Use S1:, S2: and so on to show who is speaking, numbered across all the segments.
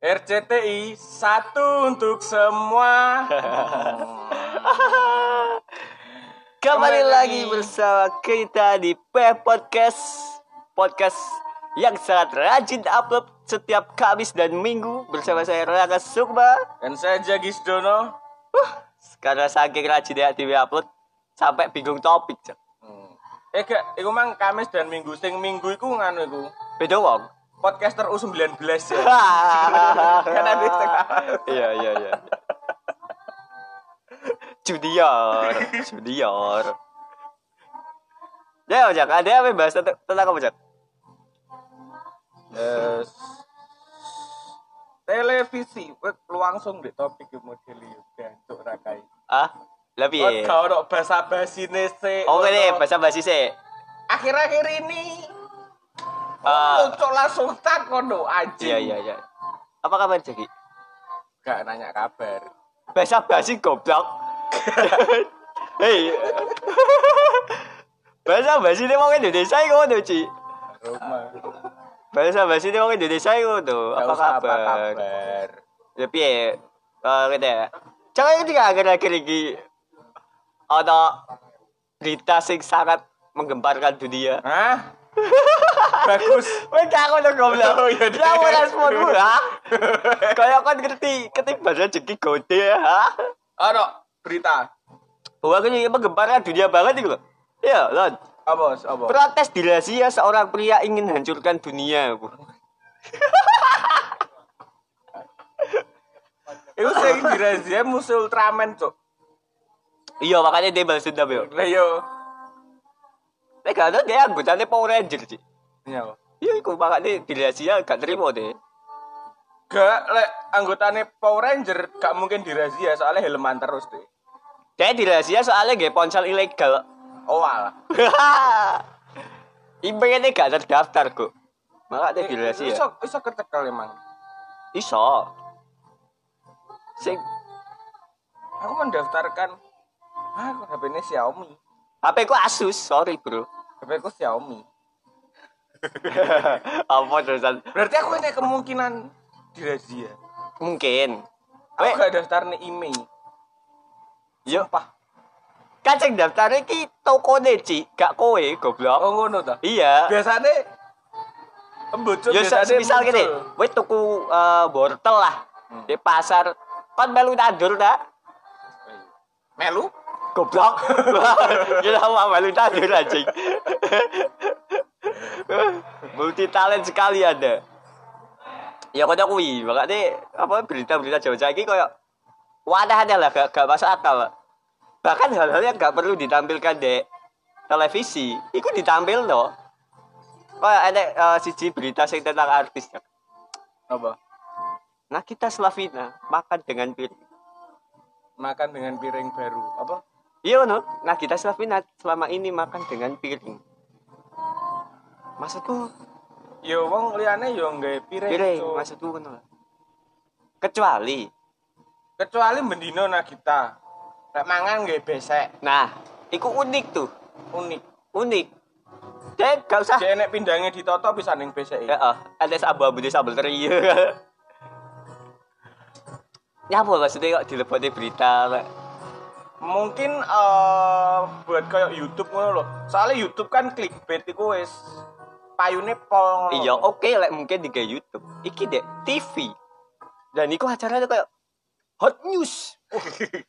S1: RCTI satu untuk semua.
S2: Kembali
S1: Kembali
S2: lagi
S1: lagi.
S2: bersama kita di P Podcast Podcast yang sangat rajin upload setiap Kamis dan Minggu Bersama saya Raka Sukma
S1: Dan saya Jagis Dono.
S2: Huh, Karena saking rajin ya TV upload Sampai bingung topik Cok.
S1: Eh gak, iku mang Kamis dan Minggu. Sing Minggu iku nganu iku.
S2: Beda wong
S1: Podcaster U19 ya.
S2: Karena
S1: ada setengah.
S2: Iya iya iya Junior Junior Ya Ojak, ada apa yang bahas tentang tentang apa Ojak?
S1: Eh, s- televisi Wek, langsung di topik iku model yo gantuk ra kae.
S2: Ah,
S1: Oh,
S2: lebih.
S1: gak ono basa-basine sik.
S2: Oke deh,
S1: ono-
S2: bahasa basi sih.
S1: Akhir-akhir ini Oh,
S2: Ah.
S1: cok langsung takon no anjing.
S2: Iya, iya, iya. Apa kabar Jaki?
S1: Gak nanya kabar.
S2: Bahasa basi goblok. Hei. bahasa basi ini mau Indonesia itu tuh, Ci.
S1: Rumah.
S2: Bahasa basi ini mau Indonesia itu tuh. Apa
S1: Apa
S2: kabar?
S1: kabar?
S2: Tapi ya, eh, gitu ya. Coba ini gak akhir-akhir ini ada berita sing sangat menggemparkan dunia.
S1: Hah? Bagus.
S2: Wes aku udah goblok.
S1: Oh, iya,
S2: Ya mau
S1: deh.
S2: respon gue, ha? Kayak kan ngerti, ketimbang rezeki gode, ha?
S1: Ono berita.
S2: Bahwa kan ini menggemparkan dunia banget itu loh. Iya, Lon.
S1: Apa? Apa?
S2: Protes di Razia seorang pria ingin hancurkan dunia. Bu.
S1: Iku sing dirazia musuh Ultraman, Cuk.
S2: Iya, makanya dia balas dendam ya.
S1: Lah iya. yo.
S2: Tapi gak tau dia anggotanya Power Ranger, sih.
S1: Nyawa.
S2: Iya, itu makanya di Razia gak terima deh.
S1: Gak lek anggotane Power Ranger gak mungkin dirazia soalnya helman terus deh.
S2: Dia di Razia soalnya gak ponsel ilegal.
S1: Oh alah.
S2: Impengannya gak terdaftar, kok. Makanya di Razia.
S1: Iso iso ketekel emang.
S2: Iso. Sing
S1: Aku mendaftarkan Ah, aku HP-nya Xiaomi.
S2: HP ku Asus, sorry bro.
S1: HP ku Xiaomi.
S2: Apa terusan?
S1: Berarti aku ini kemungkinan dirazia.
S2: Mungkin.
S1: Aku
S2: Weh.
S1: gak daftar nih IMEI.
S2: Yo. Kan sing daftar iki tokone Ci, gak kowe goblok.
S1: Oh ngono ta.
S2: Iya.
S1: Biasanya Embucuk
S2: Yo se- misal
S1: muncul.
S2: gini, kowe tuku eh, wortel lah
S1: Hmm.
S2: di pasar. Kan melu tandur ta?
S1: Melu?
S2: Goblok. Gila mau melu tandur anjing. Multi talent sekali Anda. Ya kaya kuwi, makane apa berita-berita Jawa saiki kaya wadahnya lah gak, gak masuk akal. Bahkan hal-hal yang gak perlu ditampilkan di televisi, itu ditampil no. Kayak ada eh, siji berita sing tentang artis.
S1: Apa?
S2: Nah kita Slavina makan dengan piring.
S1: Makan dengan piring baru. Apa?
S2: Iya no, nah kita Slavina selama ini makan dengan piring. Maksudku
S1: Ya wong liyane ya nggawe piring.
S2: piring,
S1: Cuk.
S2: maksudku ngono. Kecuali,
S1: Kecuali mendino Nagita. Lek mangan nggawe besek
S2: nah, itu unik tuh,
S1: unik.
S2: unik. Dek, gak usah
S1: Jek enek pindangnya ditoto bisa ning besek. e.
S2: Ya, ah, ada abu-abu di sambal teri. Ya apa maksudnya kok dilebokne berita kok.
S1: Mungkin eh, buat kayak YouTube ngono lho. Soalnya YouTube kan clickbait iku wis payune pol. ngono.
S2: Iya, oke lek mungkin di kayak YouTube. Iki dek TV. Dan iku acaranya kayak hot news.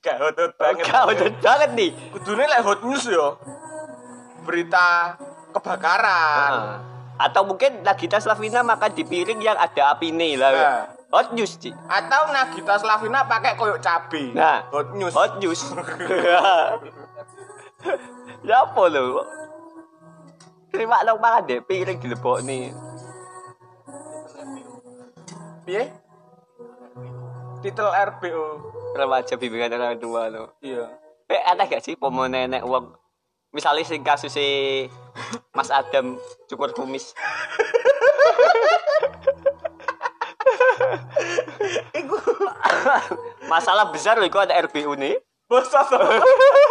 S1: Gak hot banget.
S2: Kau banget nih.
S1: Kudune lek hot news yo. Berita kebakaran.
S2: Ah. Atau mungkin Nagita Slavina makan di piring yang ada api nih lah.
S1: Nah.
S2: Hot news, Ci.
S1: Atau Nagita Slavina pakai koyok cabe.
S2: Nah,
S1: hot news.
S2: Hot news. ya apa lo? Terima dong makan deh piring dilebok nih.
S1: Piye? Titel RBO.
S2: remaja bimbingan orang tua lo.
S1: Iya.
S2: Eh, ada gak sih pemain nenek uang? Misalnya sing kasus si Mas Adam cukur kumis. Masalah besar loh, kok ada RBU nih.
S1: Bosok sama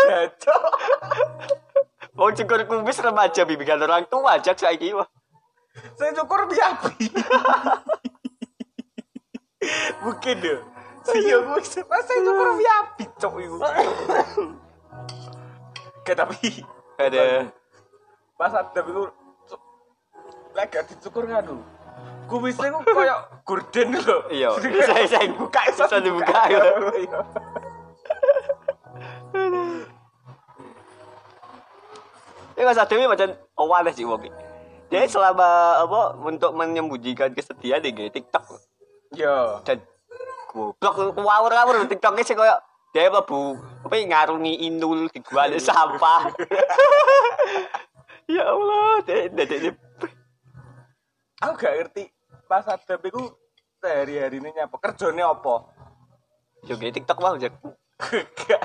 S1: Jancuk.
S2: Mau cukur kumis remaja bimbingan orang tua ajak saya wah.
S1: Saya cukur biapi. Mungkin ya. Iya, gue masa itu kurang abit cok itu. Kayak tapi
S2: Ada.
S1: pas ada itu cuk, lagi gak dicukur kan lu. Kumisnya gue kayak gorden lho.
S2: Iya.
S1: Jadi kayak
S2: Saya- saya buka, bisa dibuka, ya.
S1: Iya.
S2: Ini Mas Ademi macam oh aneh sih wong. iki. Dia selama apa untuk menyembunyikan kesedihan di nggih, TikTok
S1: Iya.
S2: dan goblok ngawur-ngawur di TikTok sih koyo dia apa bu apa ngarungi inul di gua ada sampah. ya Allah, dia dia dia- dia-
S1: Aku gak ngerti pas ada itu sehari-hari ini nyapa kerjanya apa?
S2: Yo nggih, TikTok mah Jack.
S1: Gak.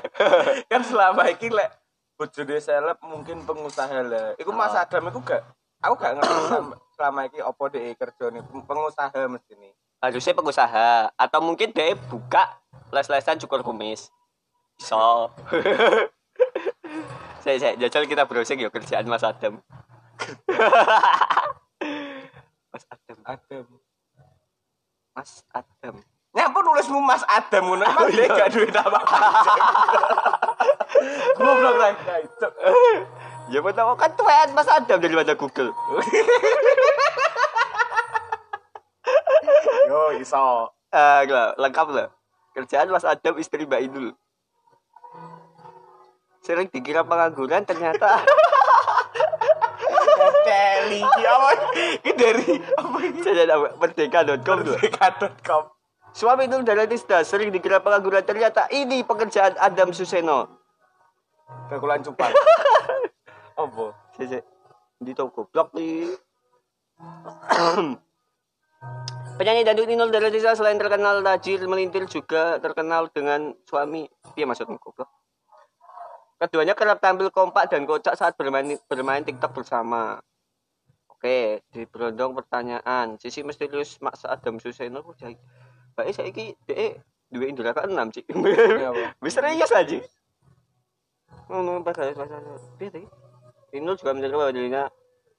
S1: kan selama ini lek bojone seleb mungkin pengusaha lah. Iku Mas
S2: Ah.
S1: Adam iku gak aku gak ngerti sam- selama ini apa dhek kerjane pengusaha mesti ini.
S2: harusnya pengusaha atau mungkin dia buka les-lesan cukur kumis so saya saya jajal kita browsing yuk kerjaan mas Adam mas Adam
S1: Adam.
S2: mas Adam
S1: Nyapa nulismu Mas Adam ngono emang dhek gak duwe nama panjang. Goblok ra itu.
S2: ya pertama kan tuan mas Adam daripada Google
S1: Yo iso.
S2: Eh, gila, lengkap lah kerjaan mas Adam istri Mbak Inul sering dikira pengangguran ternyata
S1: Teli iki apa?
S2: ini dari apa ini? merdeka.com loh.
S1: Dekat.com.
S2: Suami itu dari Tista sering dikira pengangguran ternyata ini pekerjaan Adam Suseno.
S1: Kekulan cupan. Apa?
S2: Sese, di toko blok di. Penyanyi Dangdut Inul dari Tista selain terkenal tajir melintir juga terkenal dengan suami. Iya maksudnya goblok. Keduanya kerap tampil kompak dan kocak saat bermain bermain TikTok bersama. Oke, di berondong pertanyaan. Sisi misterius Mas Adam Suseno kok jadi. Baik saiki dhek duwe indra keenam, Cik.
S1: apa?
S2: Wis serius aja. Ngomong pas hari pas hari. Piye tadi? Inul juga menerima wadilnya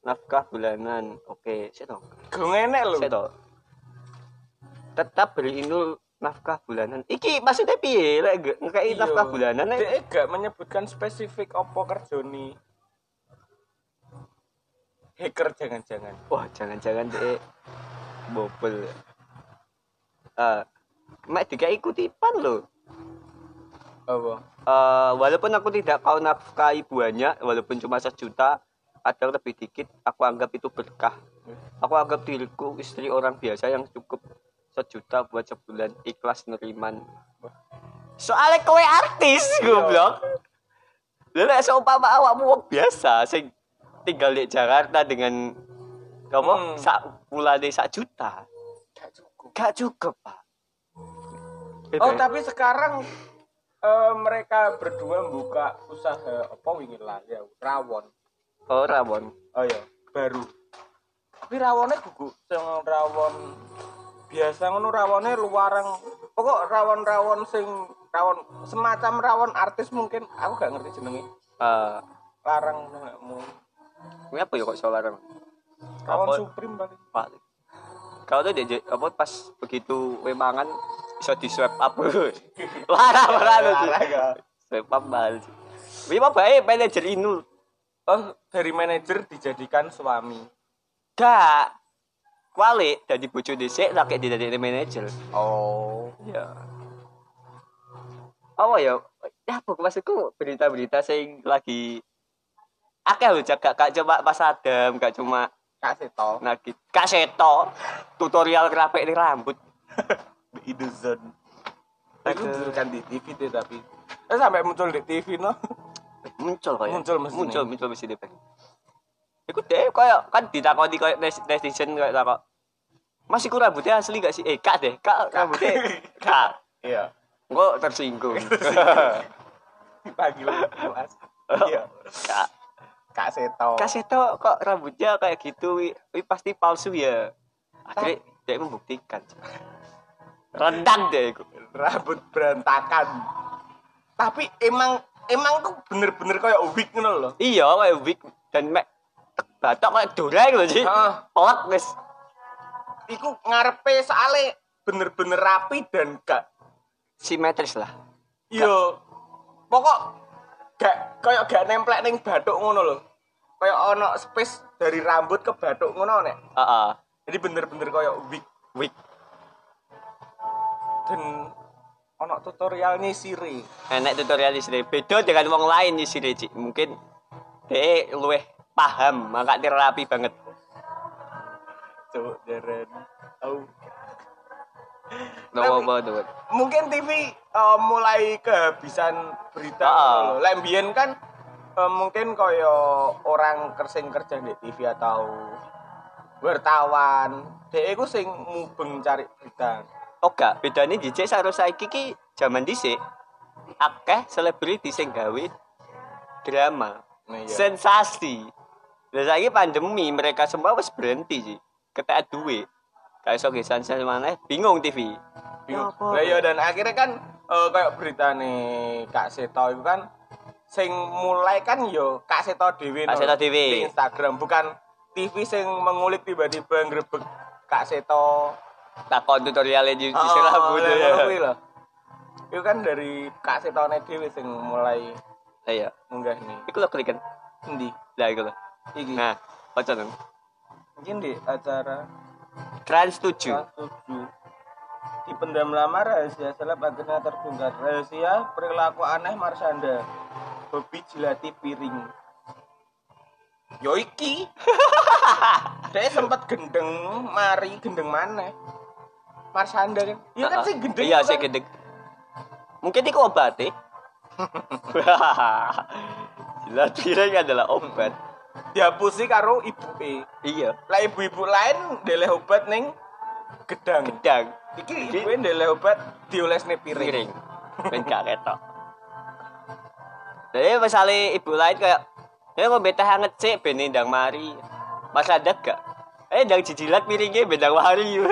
S2: nafkah bulanan. Oke, saya tahu.
S1: Gue ngenek lho.
S2: Saya tahu. Tetap beri Inul nafkah bulanan. Iki maksudnya piye? Lek nge- ngekei nafkah bulanan nek
S1: Iya. Dia gak menyebutkan spesifik opo kerjoni. Hacker jangan-jangan.
S2: Wah, jangan-jangan deh bobol. Eh, mak dikai kutipan loh.
S1: Apa?
S2: Eh, walaupun aku tidak kau nafkahi banyak, walaupun cuma sejuta atau lebih dikit, aku anggap itu berkah. Aku anggap diriku istri orang biasa yang cukup sejuta buat sebulan ikhlas neriman. Soalnya kowe artis,
S1: Iya.
S2: goblok. Lha nek seumpama awakmu wong biasa sing tinggal di Jakarta dengan apa
S1: Hmm.
S2: sak bulane sak juta,
S1: Gak cukup.
S2: gak cukup, Pak.
S1: Oh, tapi sekarang eh, mereka berdua buka usaha apa wingi lah ya, rawon.
S2: ora, Mon.
S1: Oh iya, baru. Tapi rawonnya gugu sing rawon biasa ngono rawonnya luarang. Pokok rawon-rawon sing rawon semacam rawon artis mungkin aku gak ngerti jenenge.
S2: Eh,
S1: Larang ngono.
S2: kuwi apa ya kok iso larang?
S1: Rawon
S2: Apa?
S1: Supreme paling.
S2: Pak. Kau tuh dia apa pas begitu wemangan bisa di swipe up. Larang larang.
S1: Larang. ya.
S2: Swipe up bal. Wih apa bae manajer Inul.
S1: Oh, dari manajer dijadikan suami.
S2: Gak. Kuali dari bojo dhisik rakyat di dari manajer.
S1: Oh.
S2: Ya. Apa ya? Ya apa maksudku berita-berita sing lagi akeh lho Jack. gak, gak cuma Mas Adam, gak cuma
S1: Kasih tau.
S2: Nagit. Gak seto tutorial kerapek ini rambut.
S1: Indozone. Nah, Itu
S2: Aduh.
S1: bukan di TV deh tapi. Eh sampai muncul di TV no.
S2: muncul kayak
S1: Muncul mesin
S2: muncul
S1: ini.
S2: muncul mesin ini Bang. Iku deh kayak kan ditakoni kayak nes- netizen kayak takok. Mas iku rambutnya asli gak sih? Eh kak deh, kak rambutnya kak.
S1: Iya.
S2: Engko tersinggung.
S1: Dipanggil Mas. Iya.
S2: kak,
S1: Kak Seto.
S2: kak Seto kok rambutnya kayak gitu? Wi, Wi, pasti palsu ya. Akhirnya dia membuktikan. Rendang deh iku.
S1: Rambut berantakan. Tapi emang emang tuh bener-bener kayak wig ngono loh.
S2: Iya, kayak wig dan mek batok kayak doreng loh sih.
S1: Heeh.
S2: Pelak guys.
S1: Iku ngarepe soalnya bener-bener rapi dan gak
S2: simetris lah
S1: yo pokok gak kayak gak nemplek ning batuk ngono lho kayak ono space dari rambut ke batuk ngono nek
S2: ah ah.
S1: jadi bener-bener kayak wig
S2: wig
S1: dan ono tutorialnya siri
S2: enak Eh, tutorial istri beda dengan wong lain istri cik mungkin dia luweh paham maka dia rapi banget
S1: cowok jaran Au.
S2: Nopo apa tuh
S1: mungkin TV eh, mulai kehabisan berita
S2: Ah.
S1: ngono lho. Lek mbiyen kan eh, mungkin koyo orang kersing kerja di TV atau wartawan dhek iku sing mubeng cari berita
S2: oh gak bedanya DJ harus saiki ki zaman dhisik akeh selebriti sing gawe drama
S1: nah, iya.
S2: sensasi dan saiki pandemi mereka semua wis berhenti sih ketek duit gak iso gesan mana bingung TV
S1: bingung.
S2: Apa?
S1: Lah iya dan akhirnya kan eh, kayak berita nih Kak Seto itu kan sing mulai kan yo Kak Seto dhewe
S2: Kak
S1: no,
S2: Seto dhewe.
S1: di Instagram bukan TV sing mengulik tiba-tiba ngrebek Kak Seto.
S2: takon tutorialnya di, di
S1: Ah,
S2: serabut
S1: lah, ngono kuwi
S2: ya
S1: lho. Itu kan dari Kak Setone dhewe sing mulai
S2: iya
S1: munggah nih.
S2: iku lo klik kan
S1: Endi?
S2: lah iku lo
S1: Iki.
S2: nah ojo nang
S1: Mungkin di acara
S2: trans 7
S1: kelas 7 di pendam lama rahasia seleb akhirnya terbongkar rahasia perilaku aneh Marshanda hobi jilati piring yoiki dia
S2: Iya.
S1: sempat gendeng mari gendeng mana Marshanda kan iya kan sih gendeng
S2: iya
S1: itu
S2: sih
S1: kan.
S2: gendeng mungkin iku obat eh Gila piring adalah obat
S1: dihapusi karo ibu e
S2: iya
S1: lah ibu-ibu lain ndeleh obat neng gedang
S2: gedang
S1: iki ibu e ndeleh obat diolesne piring
S2: piring ben gak ketok jadi misalnya ibu lain kayak ya kok betah hangat sih ben ndang mari mas ada gak eh ndang jijilat piringnya ben ndang mari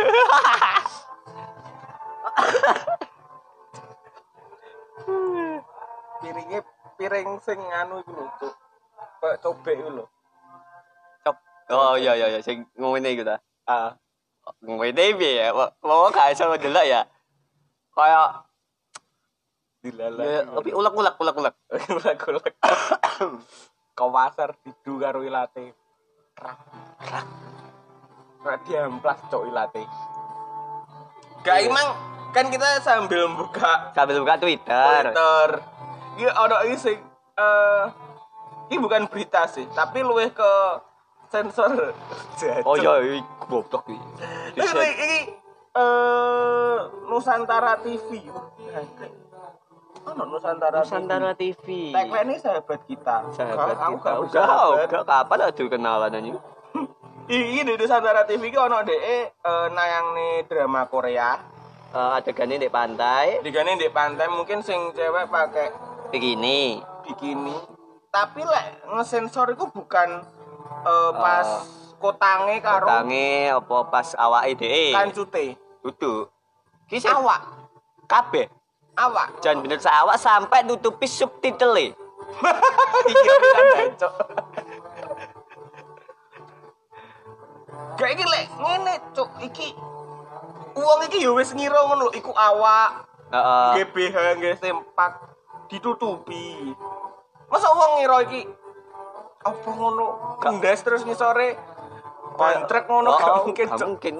S1: piringnya piring sing anu iku lho cuk kayak cobek iku lho
S2: Cok. oh iya iya iya sing ngomongnya gitu
S1: ah
S2: ngomongnya piye ya mau gak iso ndelok ya kayak
S1: dilalah
S2: ya, tapi ulek ulek ulek ulek
S1: golek-golek kawasar didu karo ilate rak rak diamplas cok ilate
S2: Iya.
S1: gak emang kan kita sambil buka
S2: sambil buka Twitter
S1: Twitter iya ono iki sing eh ini bukan berita sih tapi luwih ke sensor
S2: oh iya iya, goblok iki
S1: Ini, ini, ini eh, Nusantara TV. Oh, no, Nusantara,
S2: Nusantara TV
S1: TV. Tagline ini sahabat kita.
S2: sahabat
S1: Aku
S2: kita
S1: gak
S2: udah
S1: bersahabat.
S2: udah kapan aduh kenalan anjing
S1: Ini di Nusantara TV ini ono DE eh, nayang nih drama Korea.
S2: Eh, adegannya di pantai
S1: Digane di pantai mungkin sing cewek pakai
S2: begini
S1: bikini. Tapi lek ngesensor itu bukan eh, pas kotange karo
S2: tangi apa pas awak ide
S1: kancute.
S2: duduk kisah
S1: Kan Awak,
S2: kabeh
S1: awak.
S2: jangan bener awak sampai nutupi subtitle
S1: Pikiran jancuk. Kayak iki lek ngene cuk iki uang iki ya wis ngira ngono lho iku awak Ah.
S2: Heeh.
S1: GBH nggih sempak ditutupi. Masa uang ngira iki apa ngono
S2: Gak-
S1: ndas terus ngisore kontrak ngono
S2: Heeh,
S1: gak mungkin
S2: gak
S1: cuk.
S2: mungkin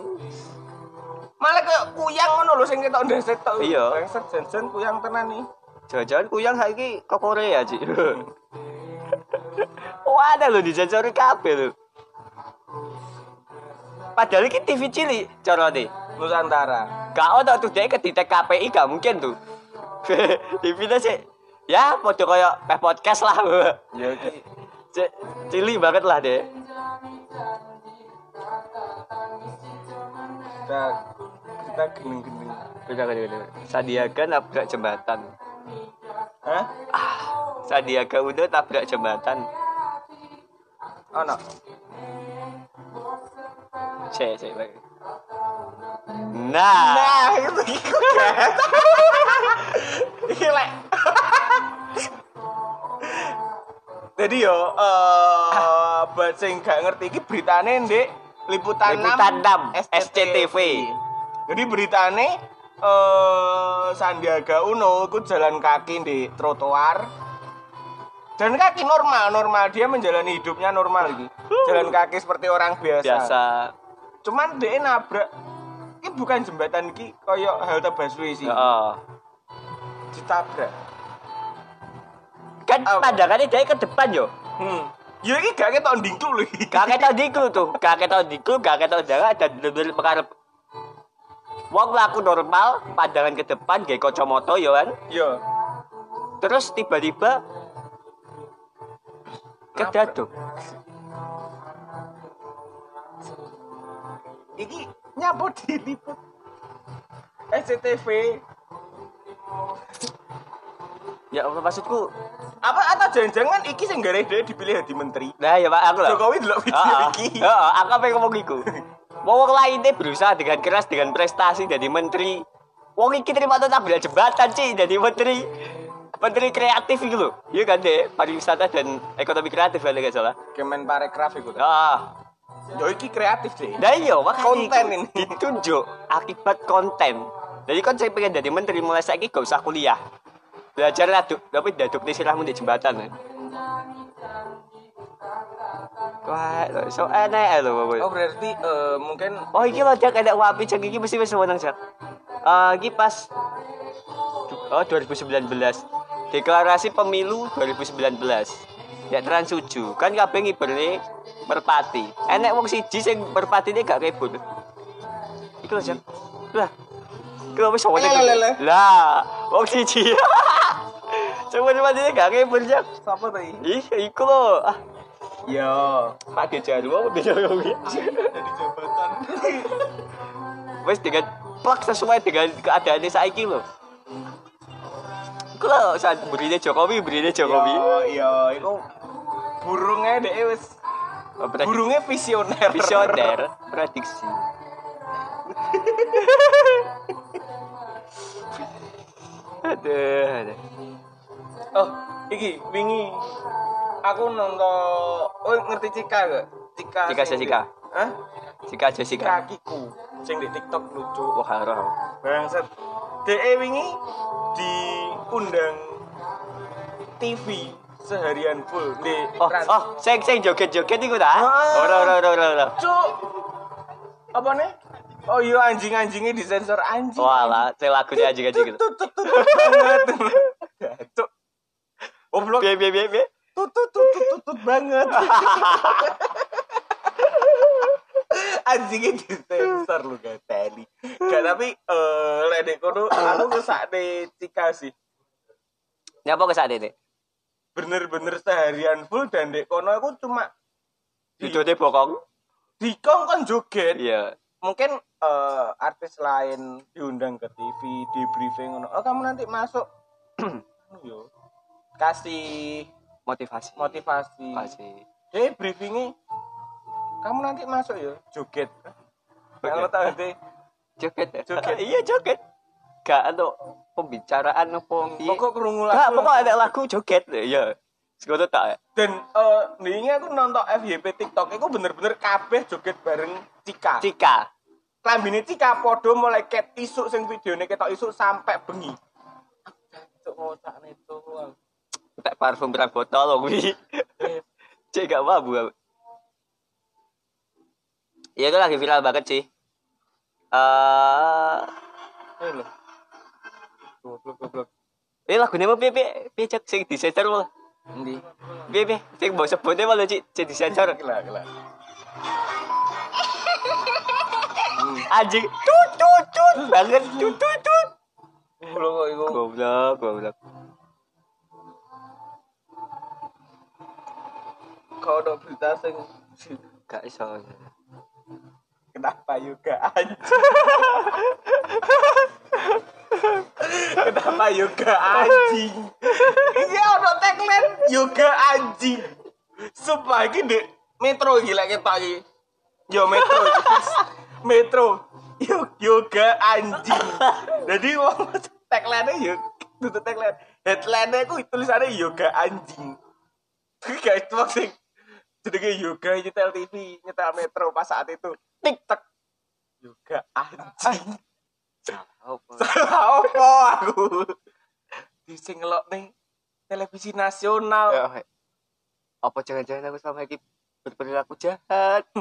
S1: Malah kayak kuyang ngono lho sing ketok ndas tok.
S2: Iya.
S1: Bangsat jen kuyang tenan nih.
S2: jangan-jangan kuyang saiki ke Korea Ci. wah ada lho dijajarin kabeh lho padahal ini TV cilik cara nih
S1: Nusantara.
S2: gak ono tuh dia kedetek KPI gak mungkin tuh TV sih ya podo koyo peh podcast lah
S1: Ya iki
S2: C- cili banget lah deh
S1: kita kita gendeng-gendeng.
S2: Udah, udah, udah. Sandiaga nabrak jembatan
S1: Hah?
S2: Sandiaga Uno nabrak jembatan
S1: Ono.
S2: cek cek baik. nah
S1: Nah, itu gitu kan. Iki lek. Jadi yo eh buat sing gak ngerti iki beritane Ndek liputan,
S2: Liputan
S1: 6
S2: 6 SCTV.
S1: Jadi beritane eh Sandiaga Uno ikut jalan kaki di trotoar. Jalan kaki normal, normal dia menjalani hidupnya normal gitu. Jalan kaki seperti orang biasa.
S2: biasa
S1: Cuman dia nabrak ini bukan jembatan iki koyo halte busway sih.
S2: Heeh.
S1: Ditabrak.
S2: kan
S1: Apa?
S2: pandangannya dia ke depan yo
S1: Hmm. Ya iki gak ketok ndingklu lho. iki.
S2: kakek tau diklu tuh kakek tau diklu kakek tau jarak dan bener-bener pengarep Wong laku normal, pandangan ke depan, gak kocomoto yo kan.
S1: Yo.
S2: Terus tiba-tiba kedaduk.
S1: Iki nyapa diliput. SCTV
S2: Ya Allah maksudku,
S1: apa atau jangan-jangan iki sing gara dia dipilih jadi menteri.
S2: nah ya pak aku lah.
S1: Jokowi delok video
S2: Heeh.
S1: iki.
S2: Heeh, aku apa yang ngomong iku. Wong lainnya berusaha dengan keras dengan prestasi jadi menteri. Wong iki terima tabel jembatan sih jadi menteri. Menteri kreatif gitu loh. Iya kan deh, pariwisata dan ekonomi kreatif kan gak salah.
S1: Kemen Parekraf iku. ta.
S2: Heeh.
S1: Yo iki kreatif deh.
S2: Nah iya, makanya
S1: Konten
S2: iku
S1: ini.
S2: ditunjuk akibat konten. Jadi kan saya pengen jadi menteri mulai saiki gak usah kuliah. Belajar laduk, tapi daduk di sirahmu di jembatan. eh. Wah, so enak loh pokoknya.
S1: Oh berarti eh, mungkin
S2: Oh iki loh Jack ada wapi Jack iki mesti wis menang Jack. Eh iki pas oh 2019 deklarasi pemilu 2019 ya trans suju kan kabeh ngiberne merpati enek wong siji sing merpati ini gak ribut iku lho Jack lah iku wis wong
S1: Lele, lele.
S2: lah wong siji Cuma merpati ini gak ribut Jack
S1: siapa tadi?
S2: ih iku lho ah
S1: Yo.
S2: Pak Dejaru apa Dejaru
S1: Jadi jabatan.
S2: wes dengan plak sesuai dengan keadaan saiki lho. Kalau saat berita Jokowi, berita Jokowi.
S1: Yo, iku burungnya deh wis
S2: Oh, Prediksi-
S1: burungnya visioner.
S2: Visioner, prediksi. aduh, aduh.
S1: Oh, iki wingi aku nonton oh ngerti Cika gak? Cika.
S2: Cika
S1: sing
S2: Jessica.
S1: di- Hah?
S2: Jika
S1: Cika
S2: Jessica,
S1: kakiku sing di TikTok lucu.
S2: wah haram.
S1: Bangset. DE wingi diundang TV seharian full di
S2: Oh,
S1: Trans.
S2: oh, sing sing joget-joget iku ta?
S1: Ah.
S2: Ora ora ora ora, ora.
S1: Cuk. Apa nih? Oh iya anjing-anjingnya disensor anjing.
S2: Walah, sing lagune aja-aja gitu.
S1: Tut, tut, tut, tut, banget. Cuk. Goblok.
S2: Piye piye piye, piye?
S1: Tut tut tut tut, tut, tut banget. Anjingnya disensor lu gak tadi. Gak tapi eh ledek kono aku kesakne Cika sih.
S2: Nyapa ke saat ini?
S1: bener-bener seharian full dan dek kono aku cuma
S2: Duduknya bokong.
S1: dikong kan joget
S2: Iya.
S1: mungkin eh, artis lain diundang ke TV di briefing ngono oh kamu nanti masuk Anu yo. kasih
S2: Motivasi.
S1: motivasi
S2: Motivasi.
S1: deh briefingnya kamu nanti masuk ya joget kalau
S2: Joget.
S1: tahu nanti
S2: joget
S1: Joget.
S2: iya joget gak ada pembicaraan apa piye.
S1: pokok kerungu
S2: gak
S1: lagu
S2: pokok ada lagu joget iya sekolah tak
S1: dan eh ini aku nonton FYP TikTok aku bener-bener kabeh joget bareng Cika
S2: Cika
S1: klambine Cika podo mulai ket isuk sing videone ketok isuk sampai bengi. Cuk ngocakne itu.
S2: tak parfum berang botol loh wi cek gak mabuk aku. iya itu lagi viral banget sih eh
S1: Eh lho. Goblok goblok.
S2: ini lagunya apa piye piye piye cek sing disensor malah
S1: Endi?
S2: piye piye sing mau sebutnya malah cik sing disensor
S1: Gila gila.
S2: anjing Ah, tut tut tut banget tut tut tut
S1: Goblok kok iku.
S2: goblok goblok
S1: Kau ada berita sing
S2: gak iso
S1: kenapa yoga anjing? kenapa yoga anjing? Iki ono tagline yoga anjing. Sumpah iki di metro gila ketok iki. Yo metro. metro. Yo- Yoga anjing. Jadi wong tagline-nya yo tutup tagline. Headline-nya ku tulisannya yoga anjing. Tapi guys itu sing jenenge yoga nyetel TV, nyetel metro pas saat itu. Tik tek. Yoga anjing.
S2: Salah opo?
S1: Salah apa aku? Di sing ngelokne televisi nasional.
S2: Ya, hei. Apa jangan-jangan aku selama ini berperilaku jahat?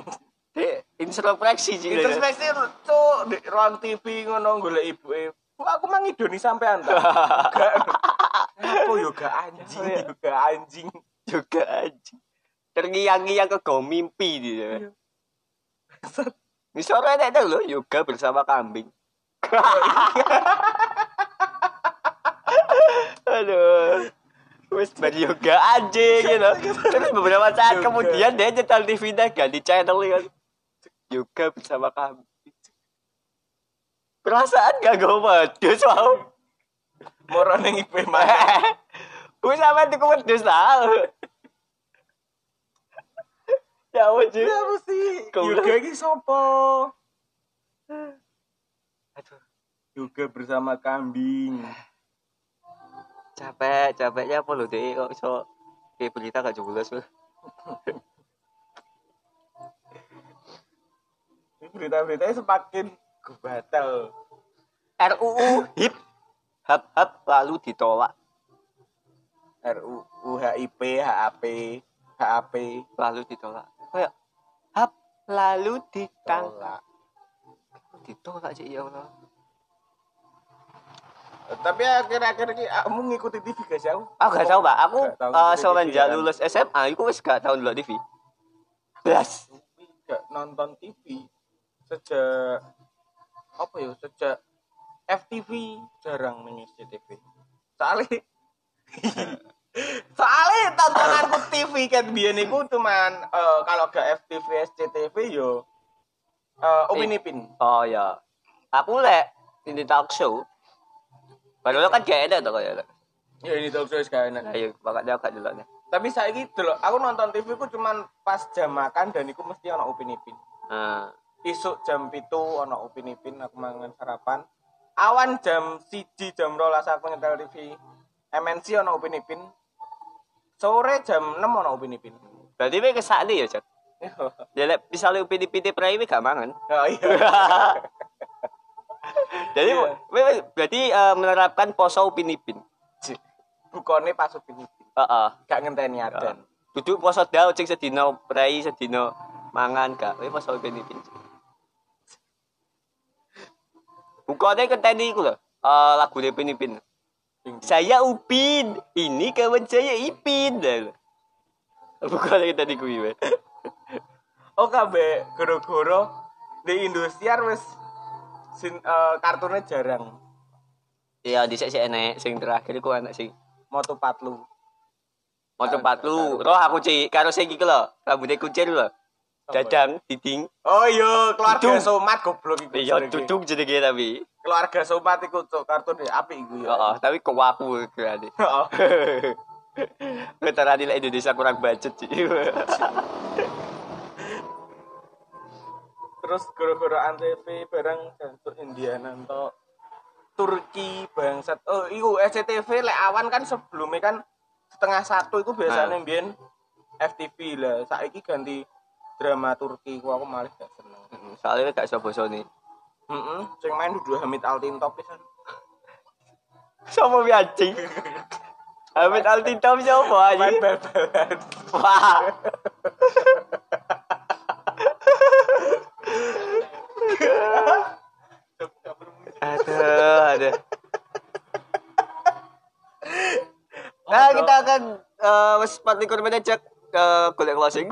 S2: Dek, introspeksi sih.
S1: Introspeksi tuh di ruang TV ngono golek ibuke. Bu aku mang idoni sampean ta. Gak. Apa yo gak anjing,
S2: Iya.
S1: yo gak anjing.
S2: juga aja. Terngiang-ngiang ke kau mimpi
S1: Iya.
S2: gitu. Misalnya ada ada lo yoga bersama kambing. Aduh. Wis bari yoga aja gitu. Terus beberapa saat
S1: Yoga.
S2: kemudian dia nyetel TV nya ganti channel kan. Yoga bersama kambing. Perasaan gak gue wedus wow.
S1: Moro ning ibu mana?
S2: Gue sama tuh wedus tau. Ya wajib.
S1: Siapa sih?
S2: Kau
S1: Yoga iki sapa?
S2: Aduh,
S1: Yoga bersama kambing.
S2: capek, capeknya apa lo deh kok iso kayak berita gak jelas loh.
S1: Ini berita-beritanya semakin kebatal.
S2: RUU hip hap hap lalu ditolak
S1: RUU HIP, HAP, HAP.
S2: lalu ditolak kayak hap lalu ditangkap
S1: Tolak.
S2: ditolak sih ya Allah
S1: Tapi akhir-akhir ini ah, kamu ngikuti TV gak sih aku?
S2: aku Ah, gak tahu pak aku
S1: Gak tahu,
S2: eh,
S1: ngikutin
S2: semenjak
S1: TV kan.
S2: lulus SMA aku wis gak tahu dulu TV belas
S1: Gak nonton TV sejak apa ya sejak FTV jarang mengisi TV. Soalnya soalnya tontonanku TV kan biyen iku cuman eh, kalau gak FTV SCTV yo eh Upin Ipin.
S2: oh ya aku lek ini talk show padahal kan gak ada tuh kayak
S1: Ya ini talk show sekarang.
S2: ayo makanya aku gak dulu nih
S1: Tapi saya gitu loh, aku nonton TV ku cuman pas jam makan dan iku mesti ono Upin Ipin.
S2: Ah,
S1: Isuk jam pitu ono Upin Ipin aku mangan sarapan. Awan jam siji jam rolas aku nyetel TV. MNC ono Upin Ipin. Sore jam 6 ono Upin Ipin.
S2: berarti ini kesana ya cak ya lek misalnya upin ipin prime gak mangan
S1: oh iya.
S2: Jadi
S1: Iya.
S2: we- we- berarti eh, menerapkan poso upin ipin.
S1: Bukone pas Upin Ipin.
S2: Heeh.
S1: Gak ngenteni adan.
S2: Duduk poso dao cek sedino prei sedino mangan gak. Wis poso upin ipin. Bukane keteni iku lho. Eh lagu Upin Ipin. Saya Upin, ini kawan saya Ipin. Bukane keteni kuwi we.
S1: Oh kabeh goro-goro di Indosiar wis sin, eh, kartunnya jarang.
S2: Ya dhisik sik enek sing terakhir iku anak sing
S1: Moto Patlu.
S2: Motor patlu, roh aku cik, karo sing iki lho, rambutnya kuncir lho. Dadang, diding,
S1: Oh iya, keluarga
S2: Dudung.
S1: somat goblok iku.
S2: iya
S1: jenenge.
S2: dudung jenenge tapi.
S1: Keluarga somat iku cuk kartun ya apik iku ya.
S2: Heeh, tapi kok aku berarti.
S1: Heeh.
S2: Veteran nilai Indonesia kurang budget sih.
S1: Terus gara-gara TV bareng jancuk Indiana entok. Turki bangsat. Oh, iku SCTV lek awan kan sebelumnya kan setengah satu itu biasanya
S2: Nah.
S1: mbiyen FTV lah. Saiki ganti drama Turki ku aku malah gak seneng.
S2: Soalnya gak sobo soni.
S1: Heeh, sing main Dudu Hamid Altintop pisan.
S2: Sopo bi anjing. Amit Altitom sopo
S1: Main
S2: anjing.
S1: bal-balan.
S2: Wah. Aduh, aduh. Nah, kita akan eh wis partikur menecek ke golek closing.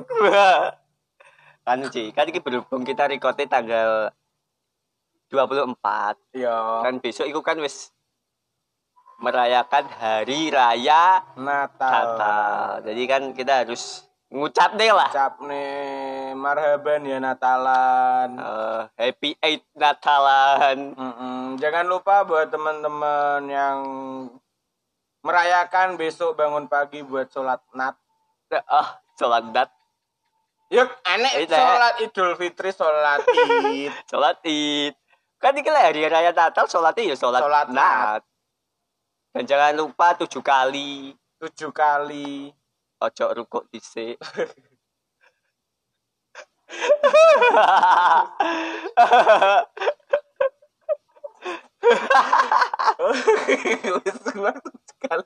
S2: kan Ci, kan ini berhubung kita recordnya tanggal 24.
S1: Iya.
S2: Kan besok itu kan wis merayakan hari raya
S1: Natal.
S2: Natal. Jadi kan kita harus ngucap deh lah.
S1: Cap nih marhaban ya Natalan.
S2: Eh, happy Eight Natalan.
S1: Mm-mm. Jangan lupa buat teman-teman yang merayakan besok bangun pagi buat sholat nat.
S2: Oh, sholat nat,
S1: Yuk, aneh
S2: Iya.
S1: sholat Idul Fitri, sholat Id.
S2: sholat id. Kan ini lah hari raya Natal, sholatnya ya sholat,
S1: Sholat
S2: nat. Dan jangan lupa tujuh kali.
S1: tujuh kali.
S2: Ojo rukuk dhisik.
S1: Wis luar sekali.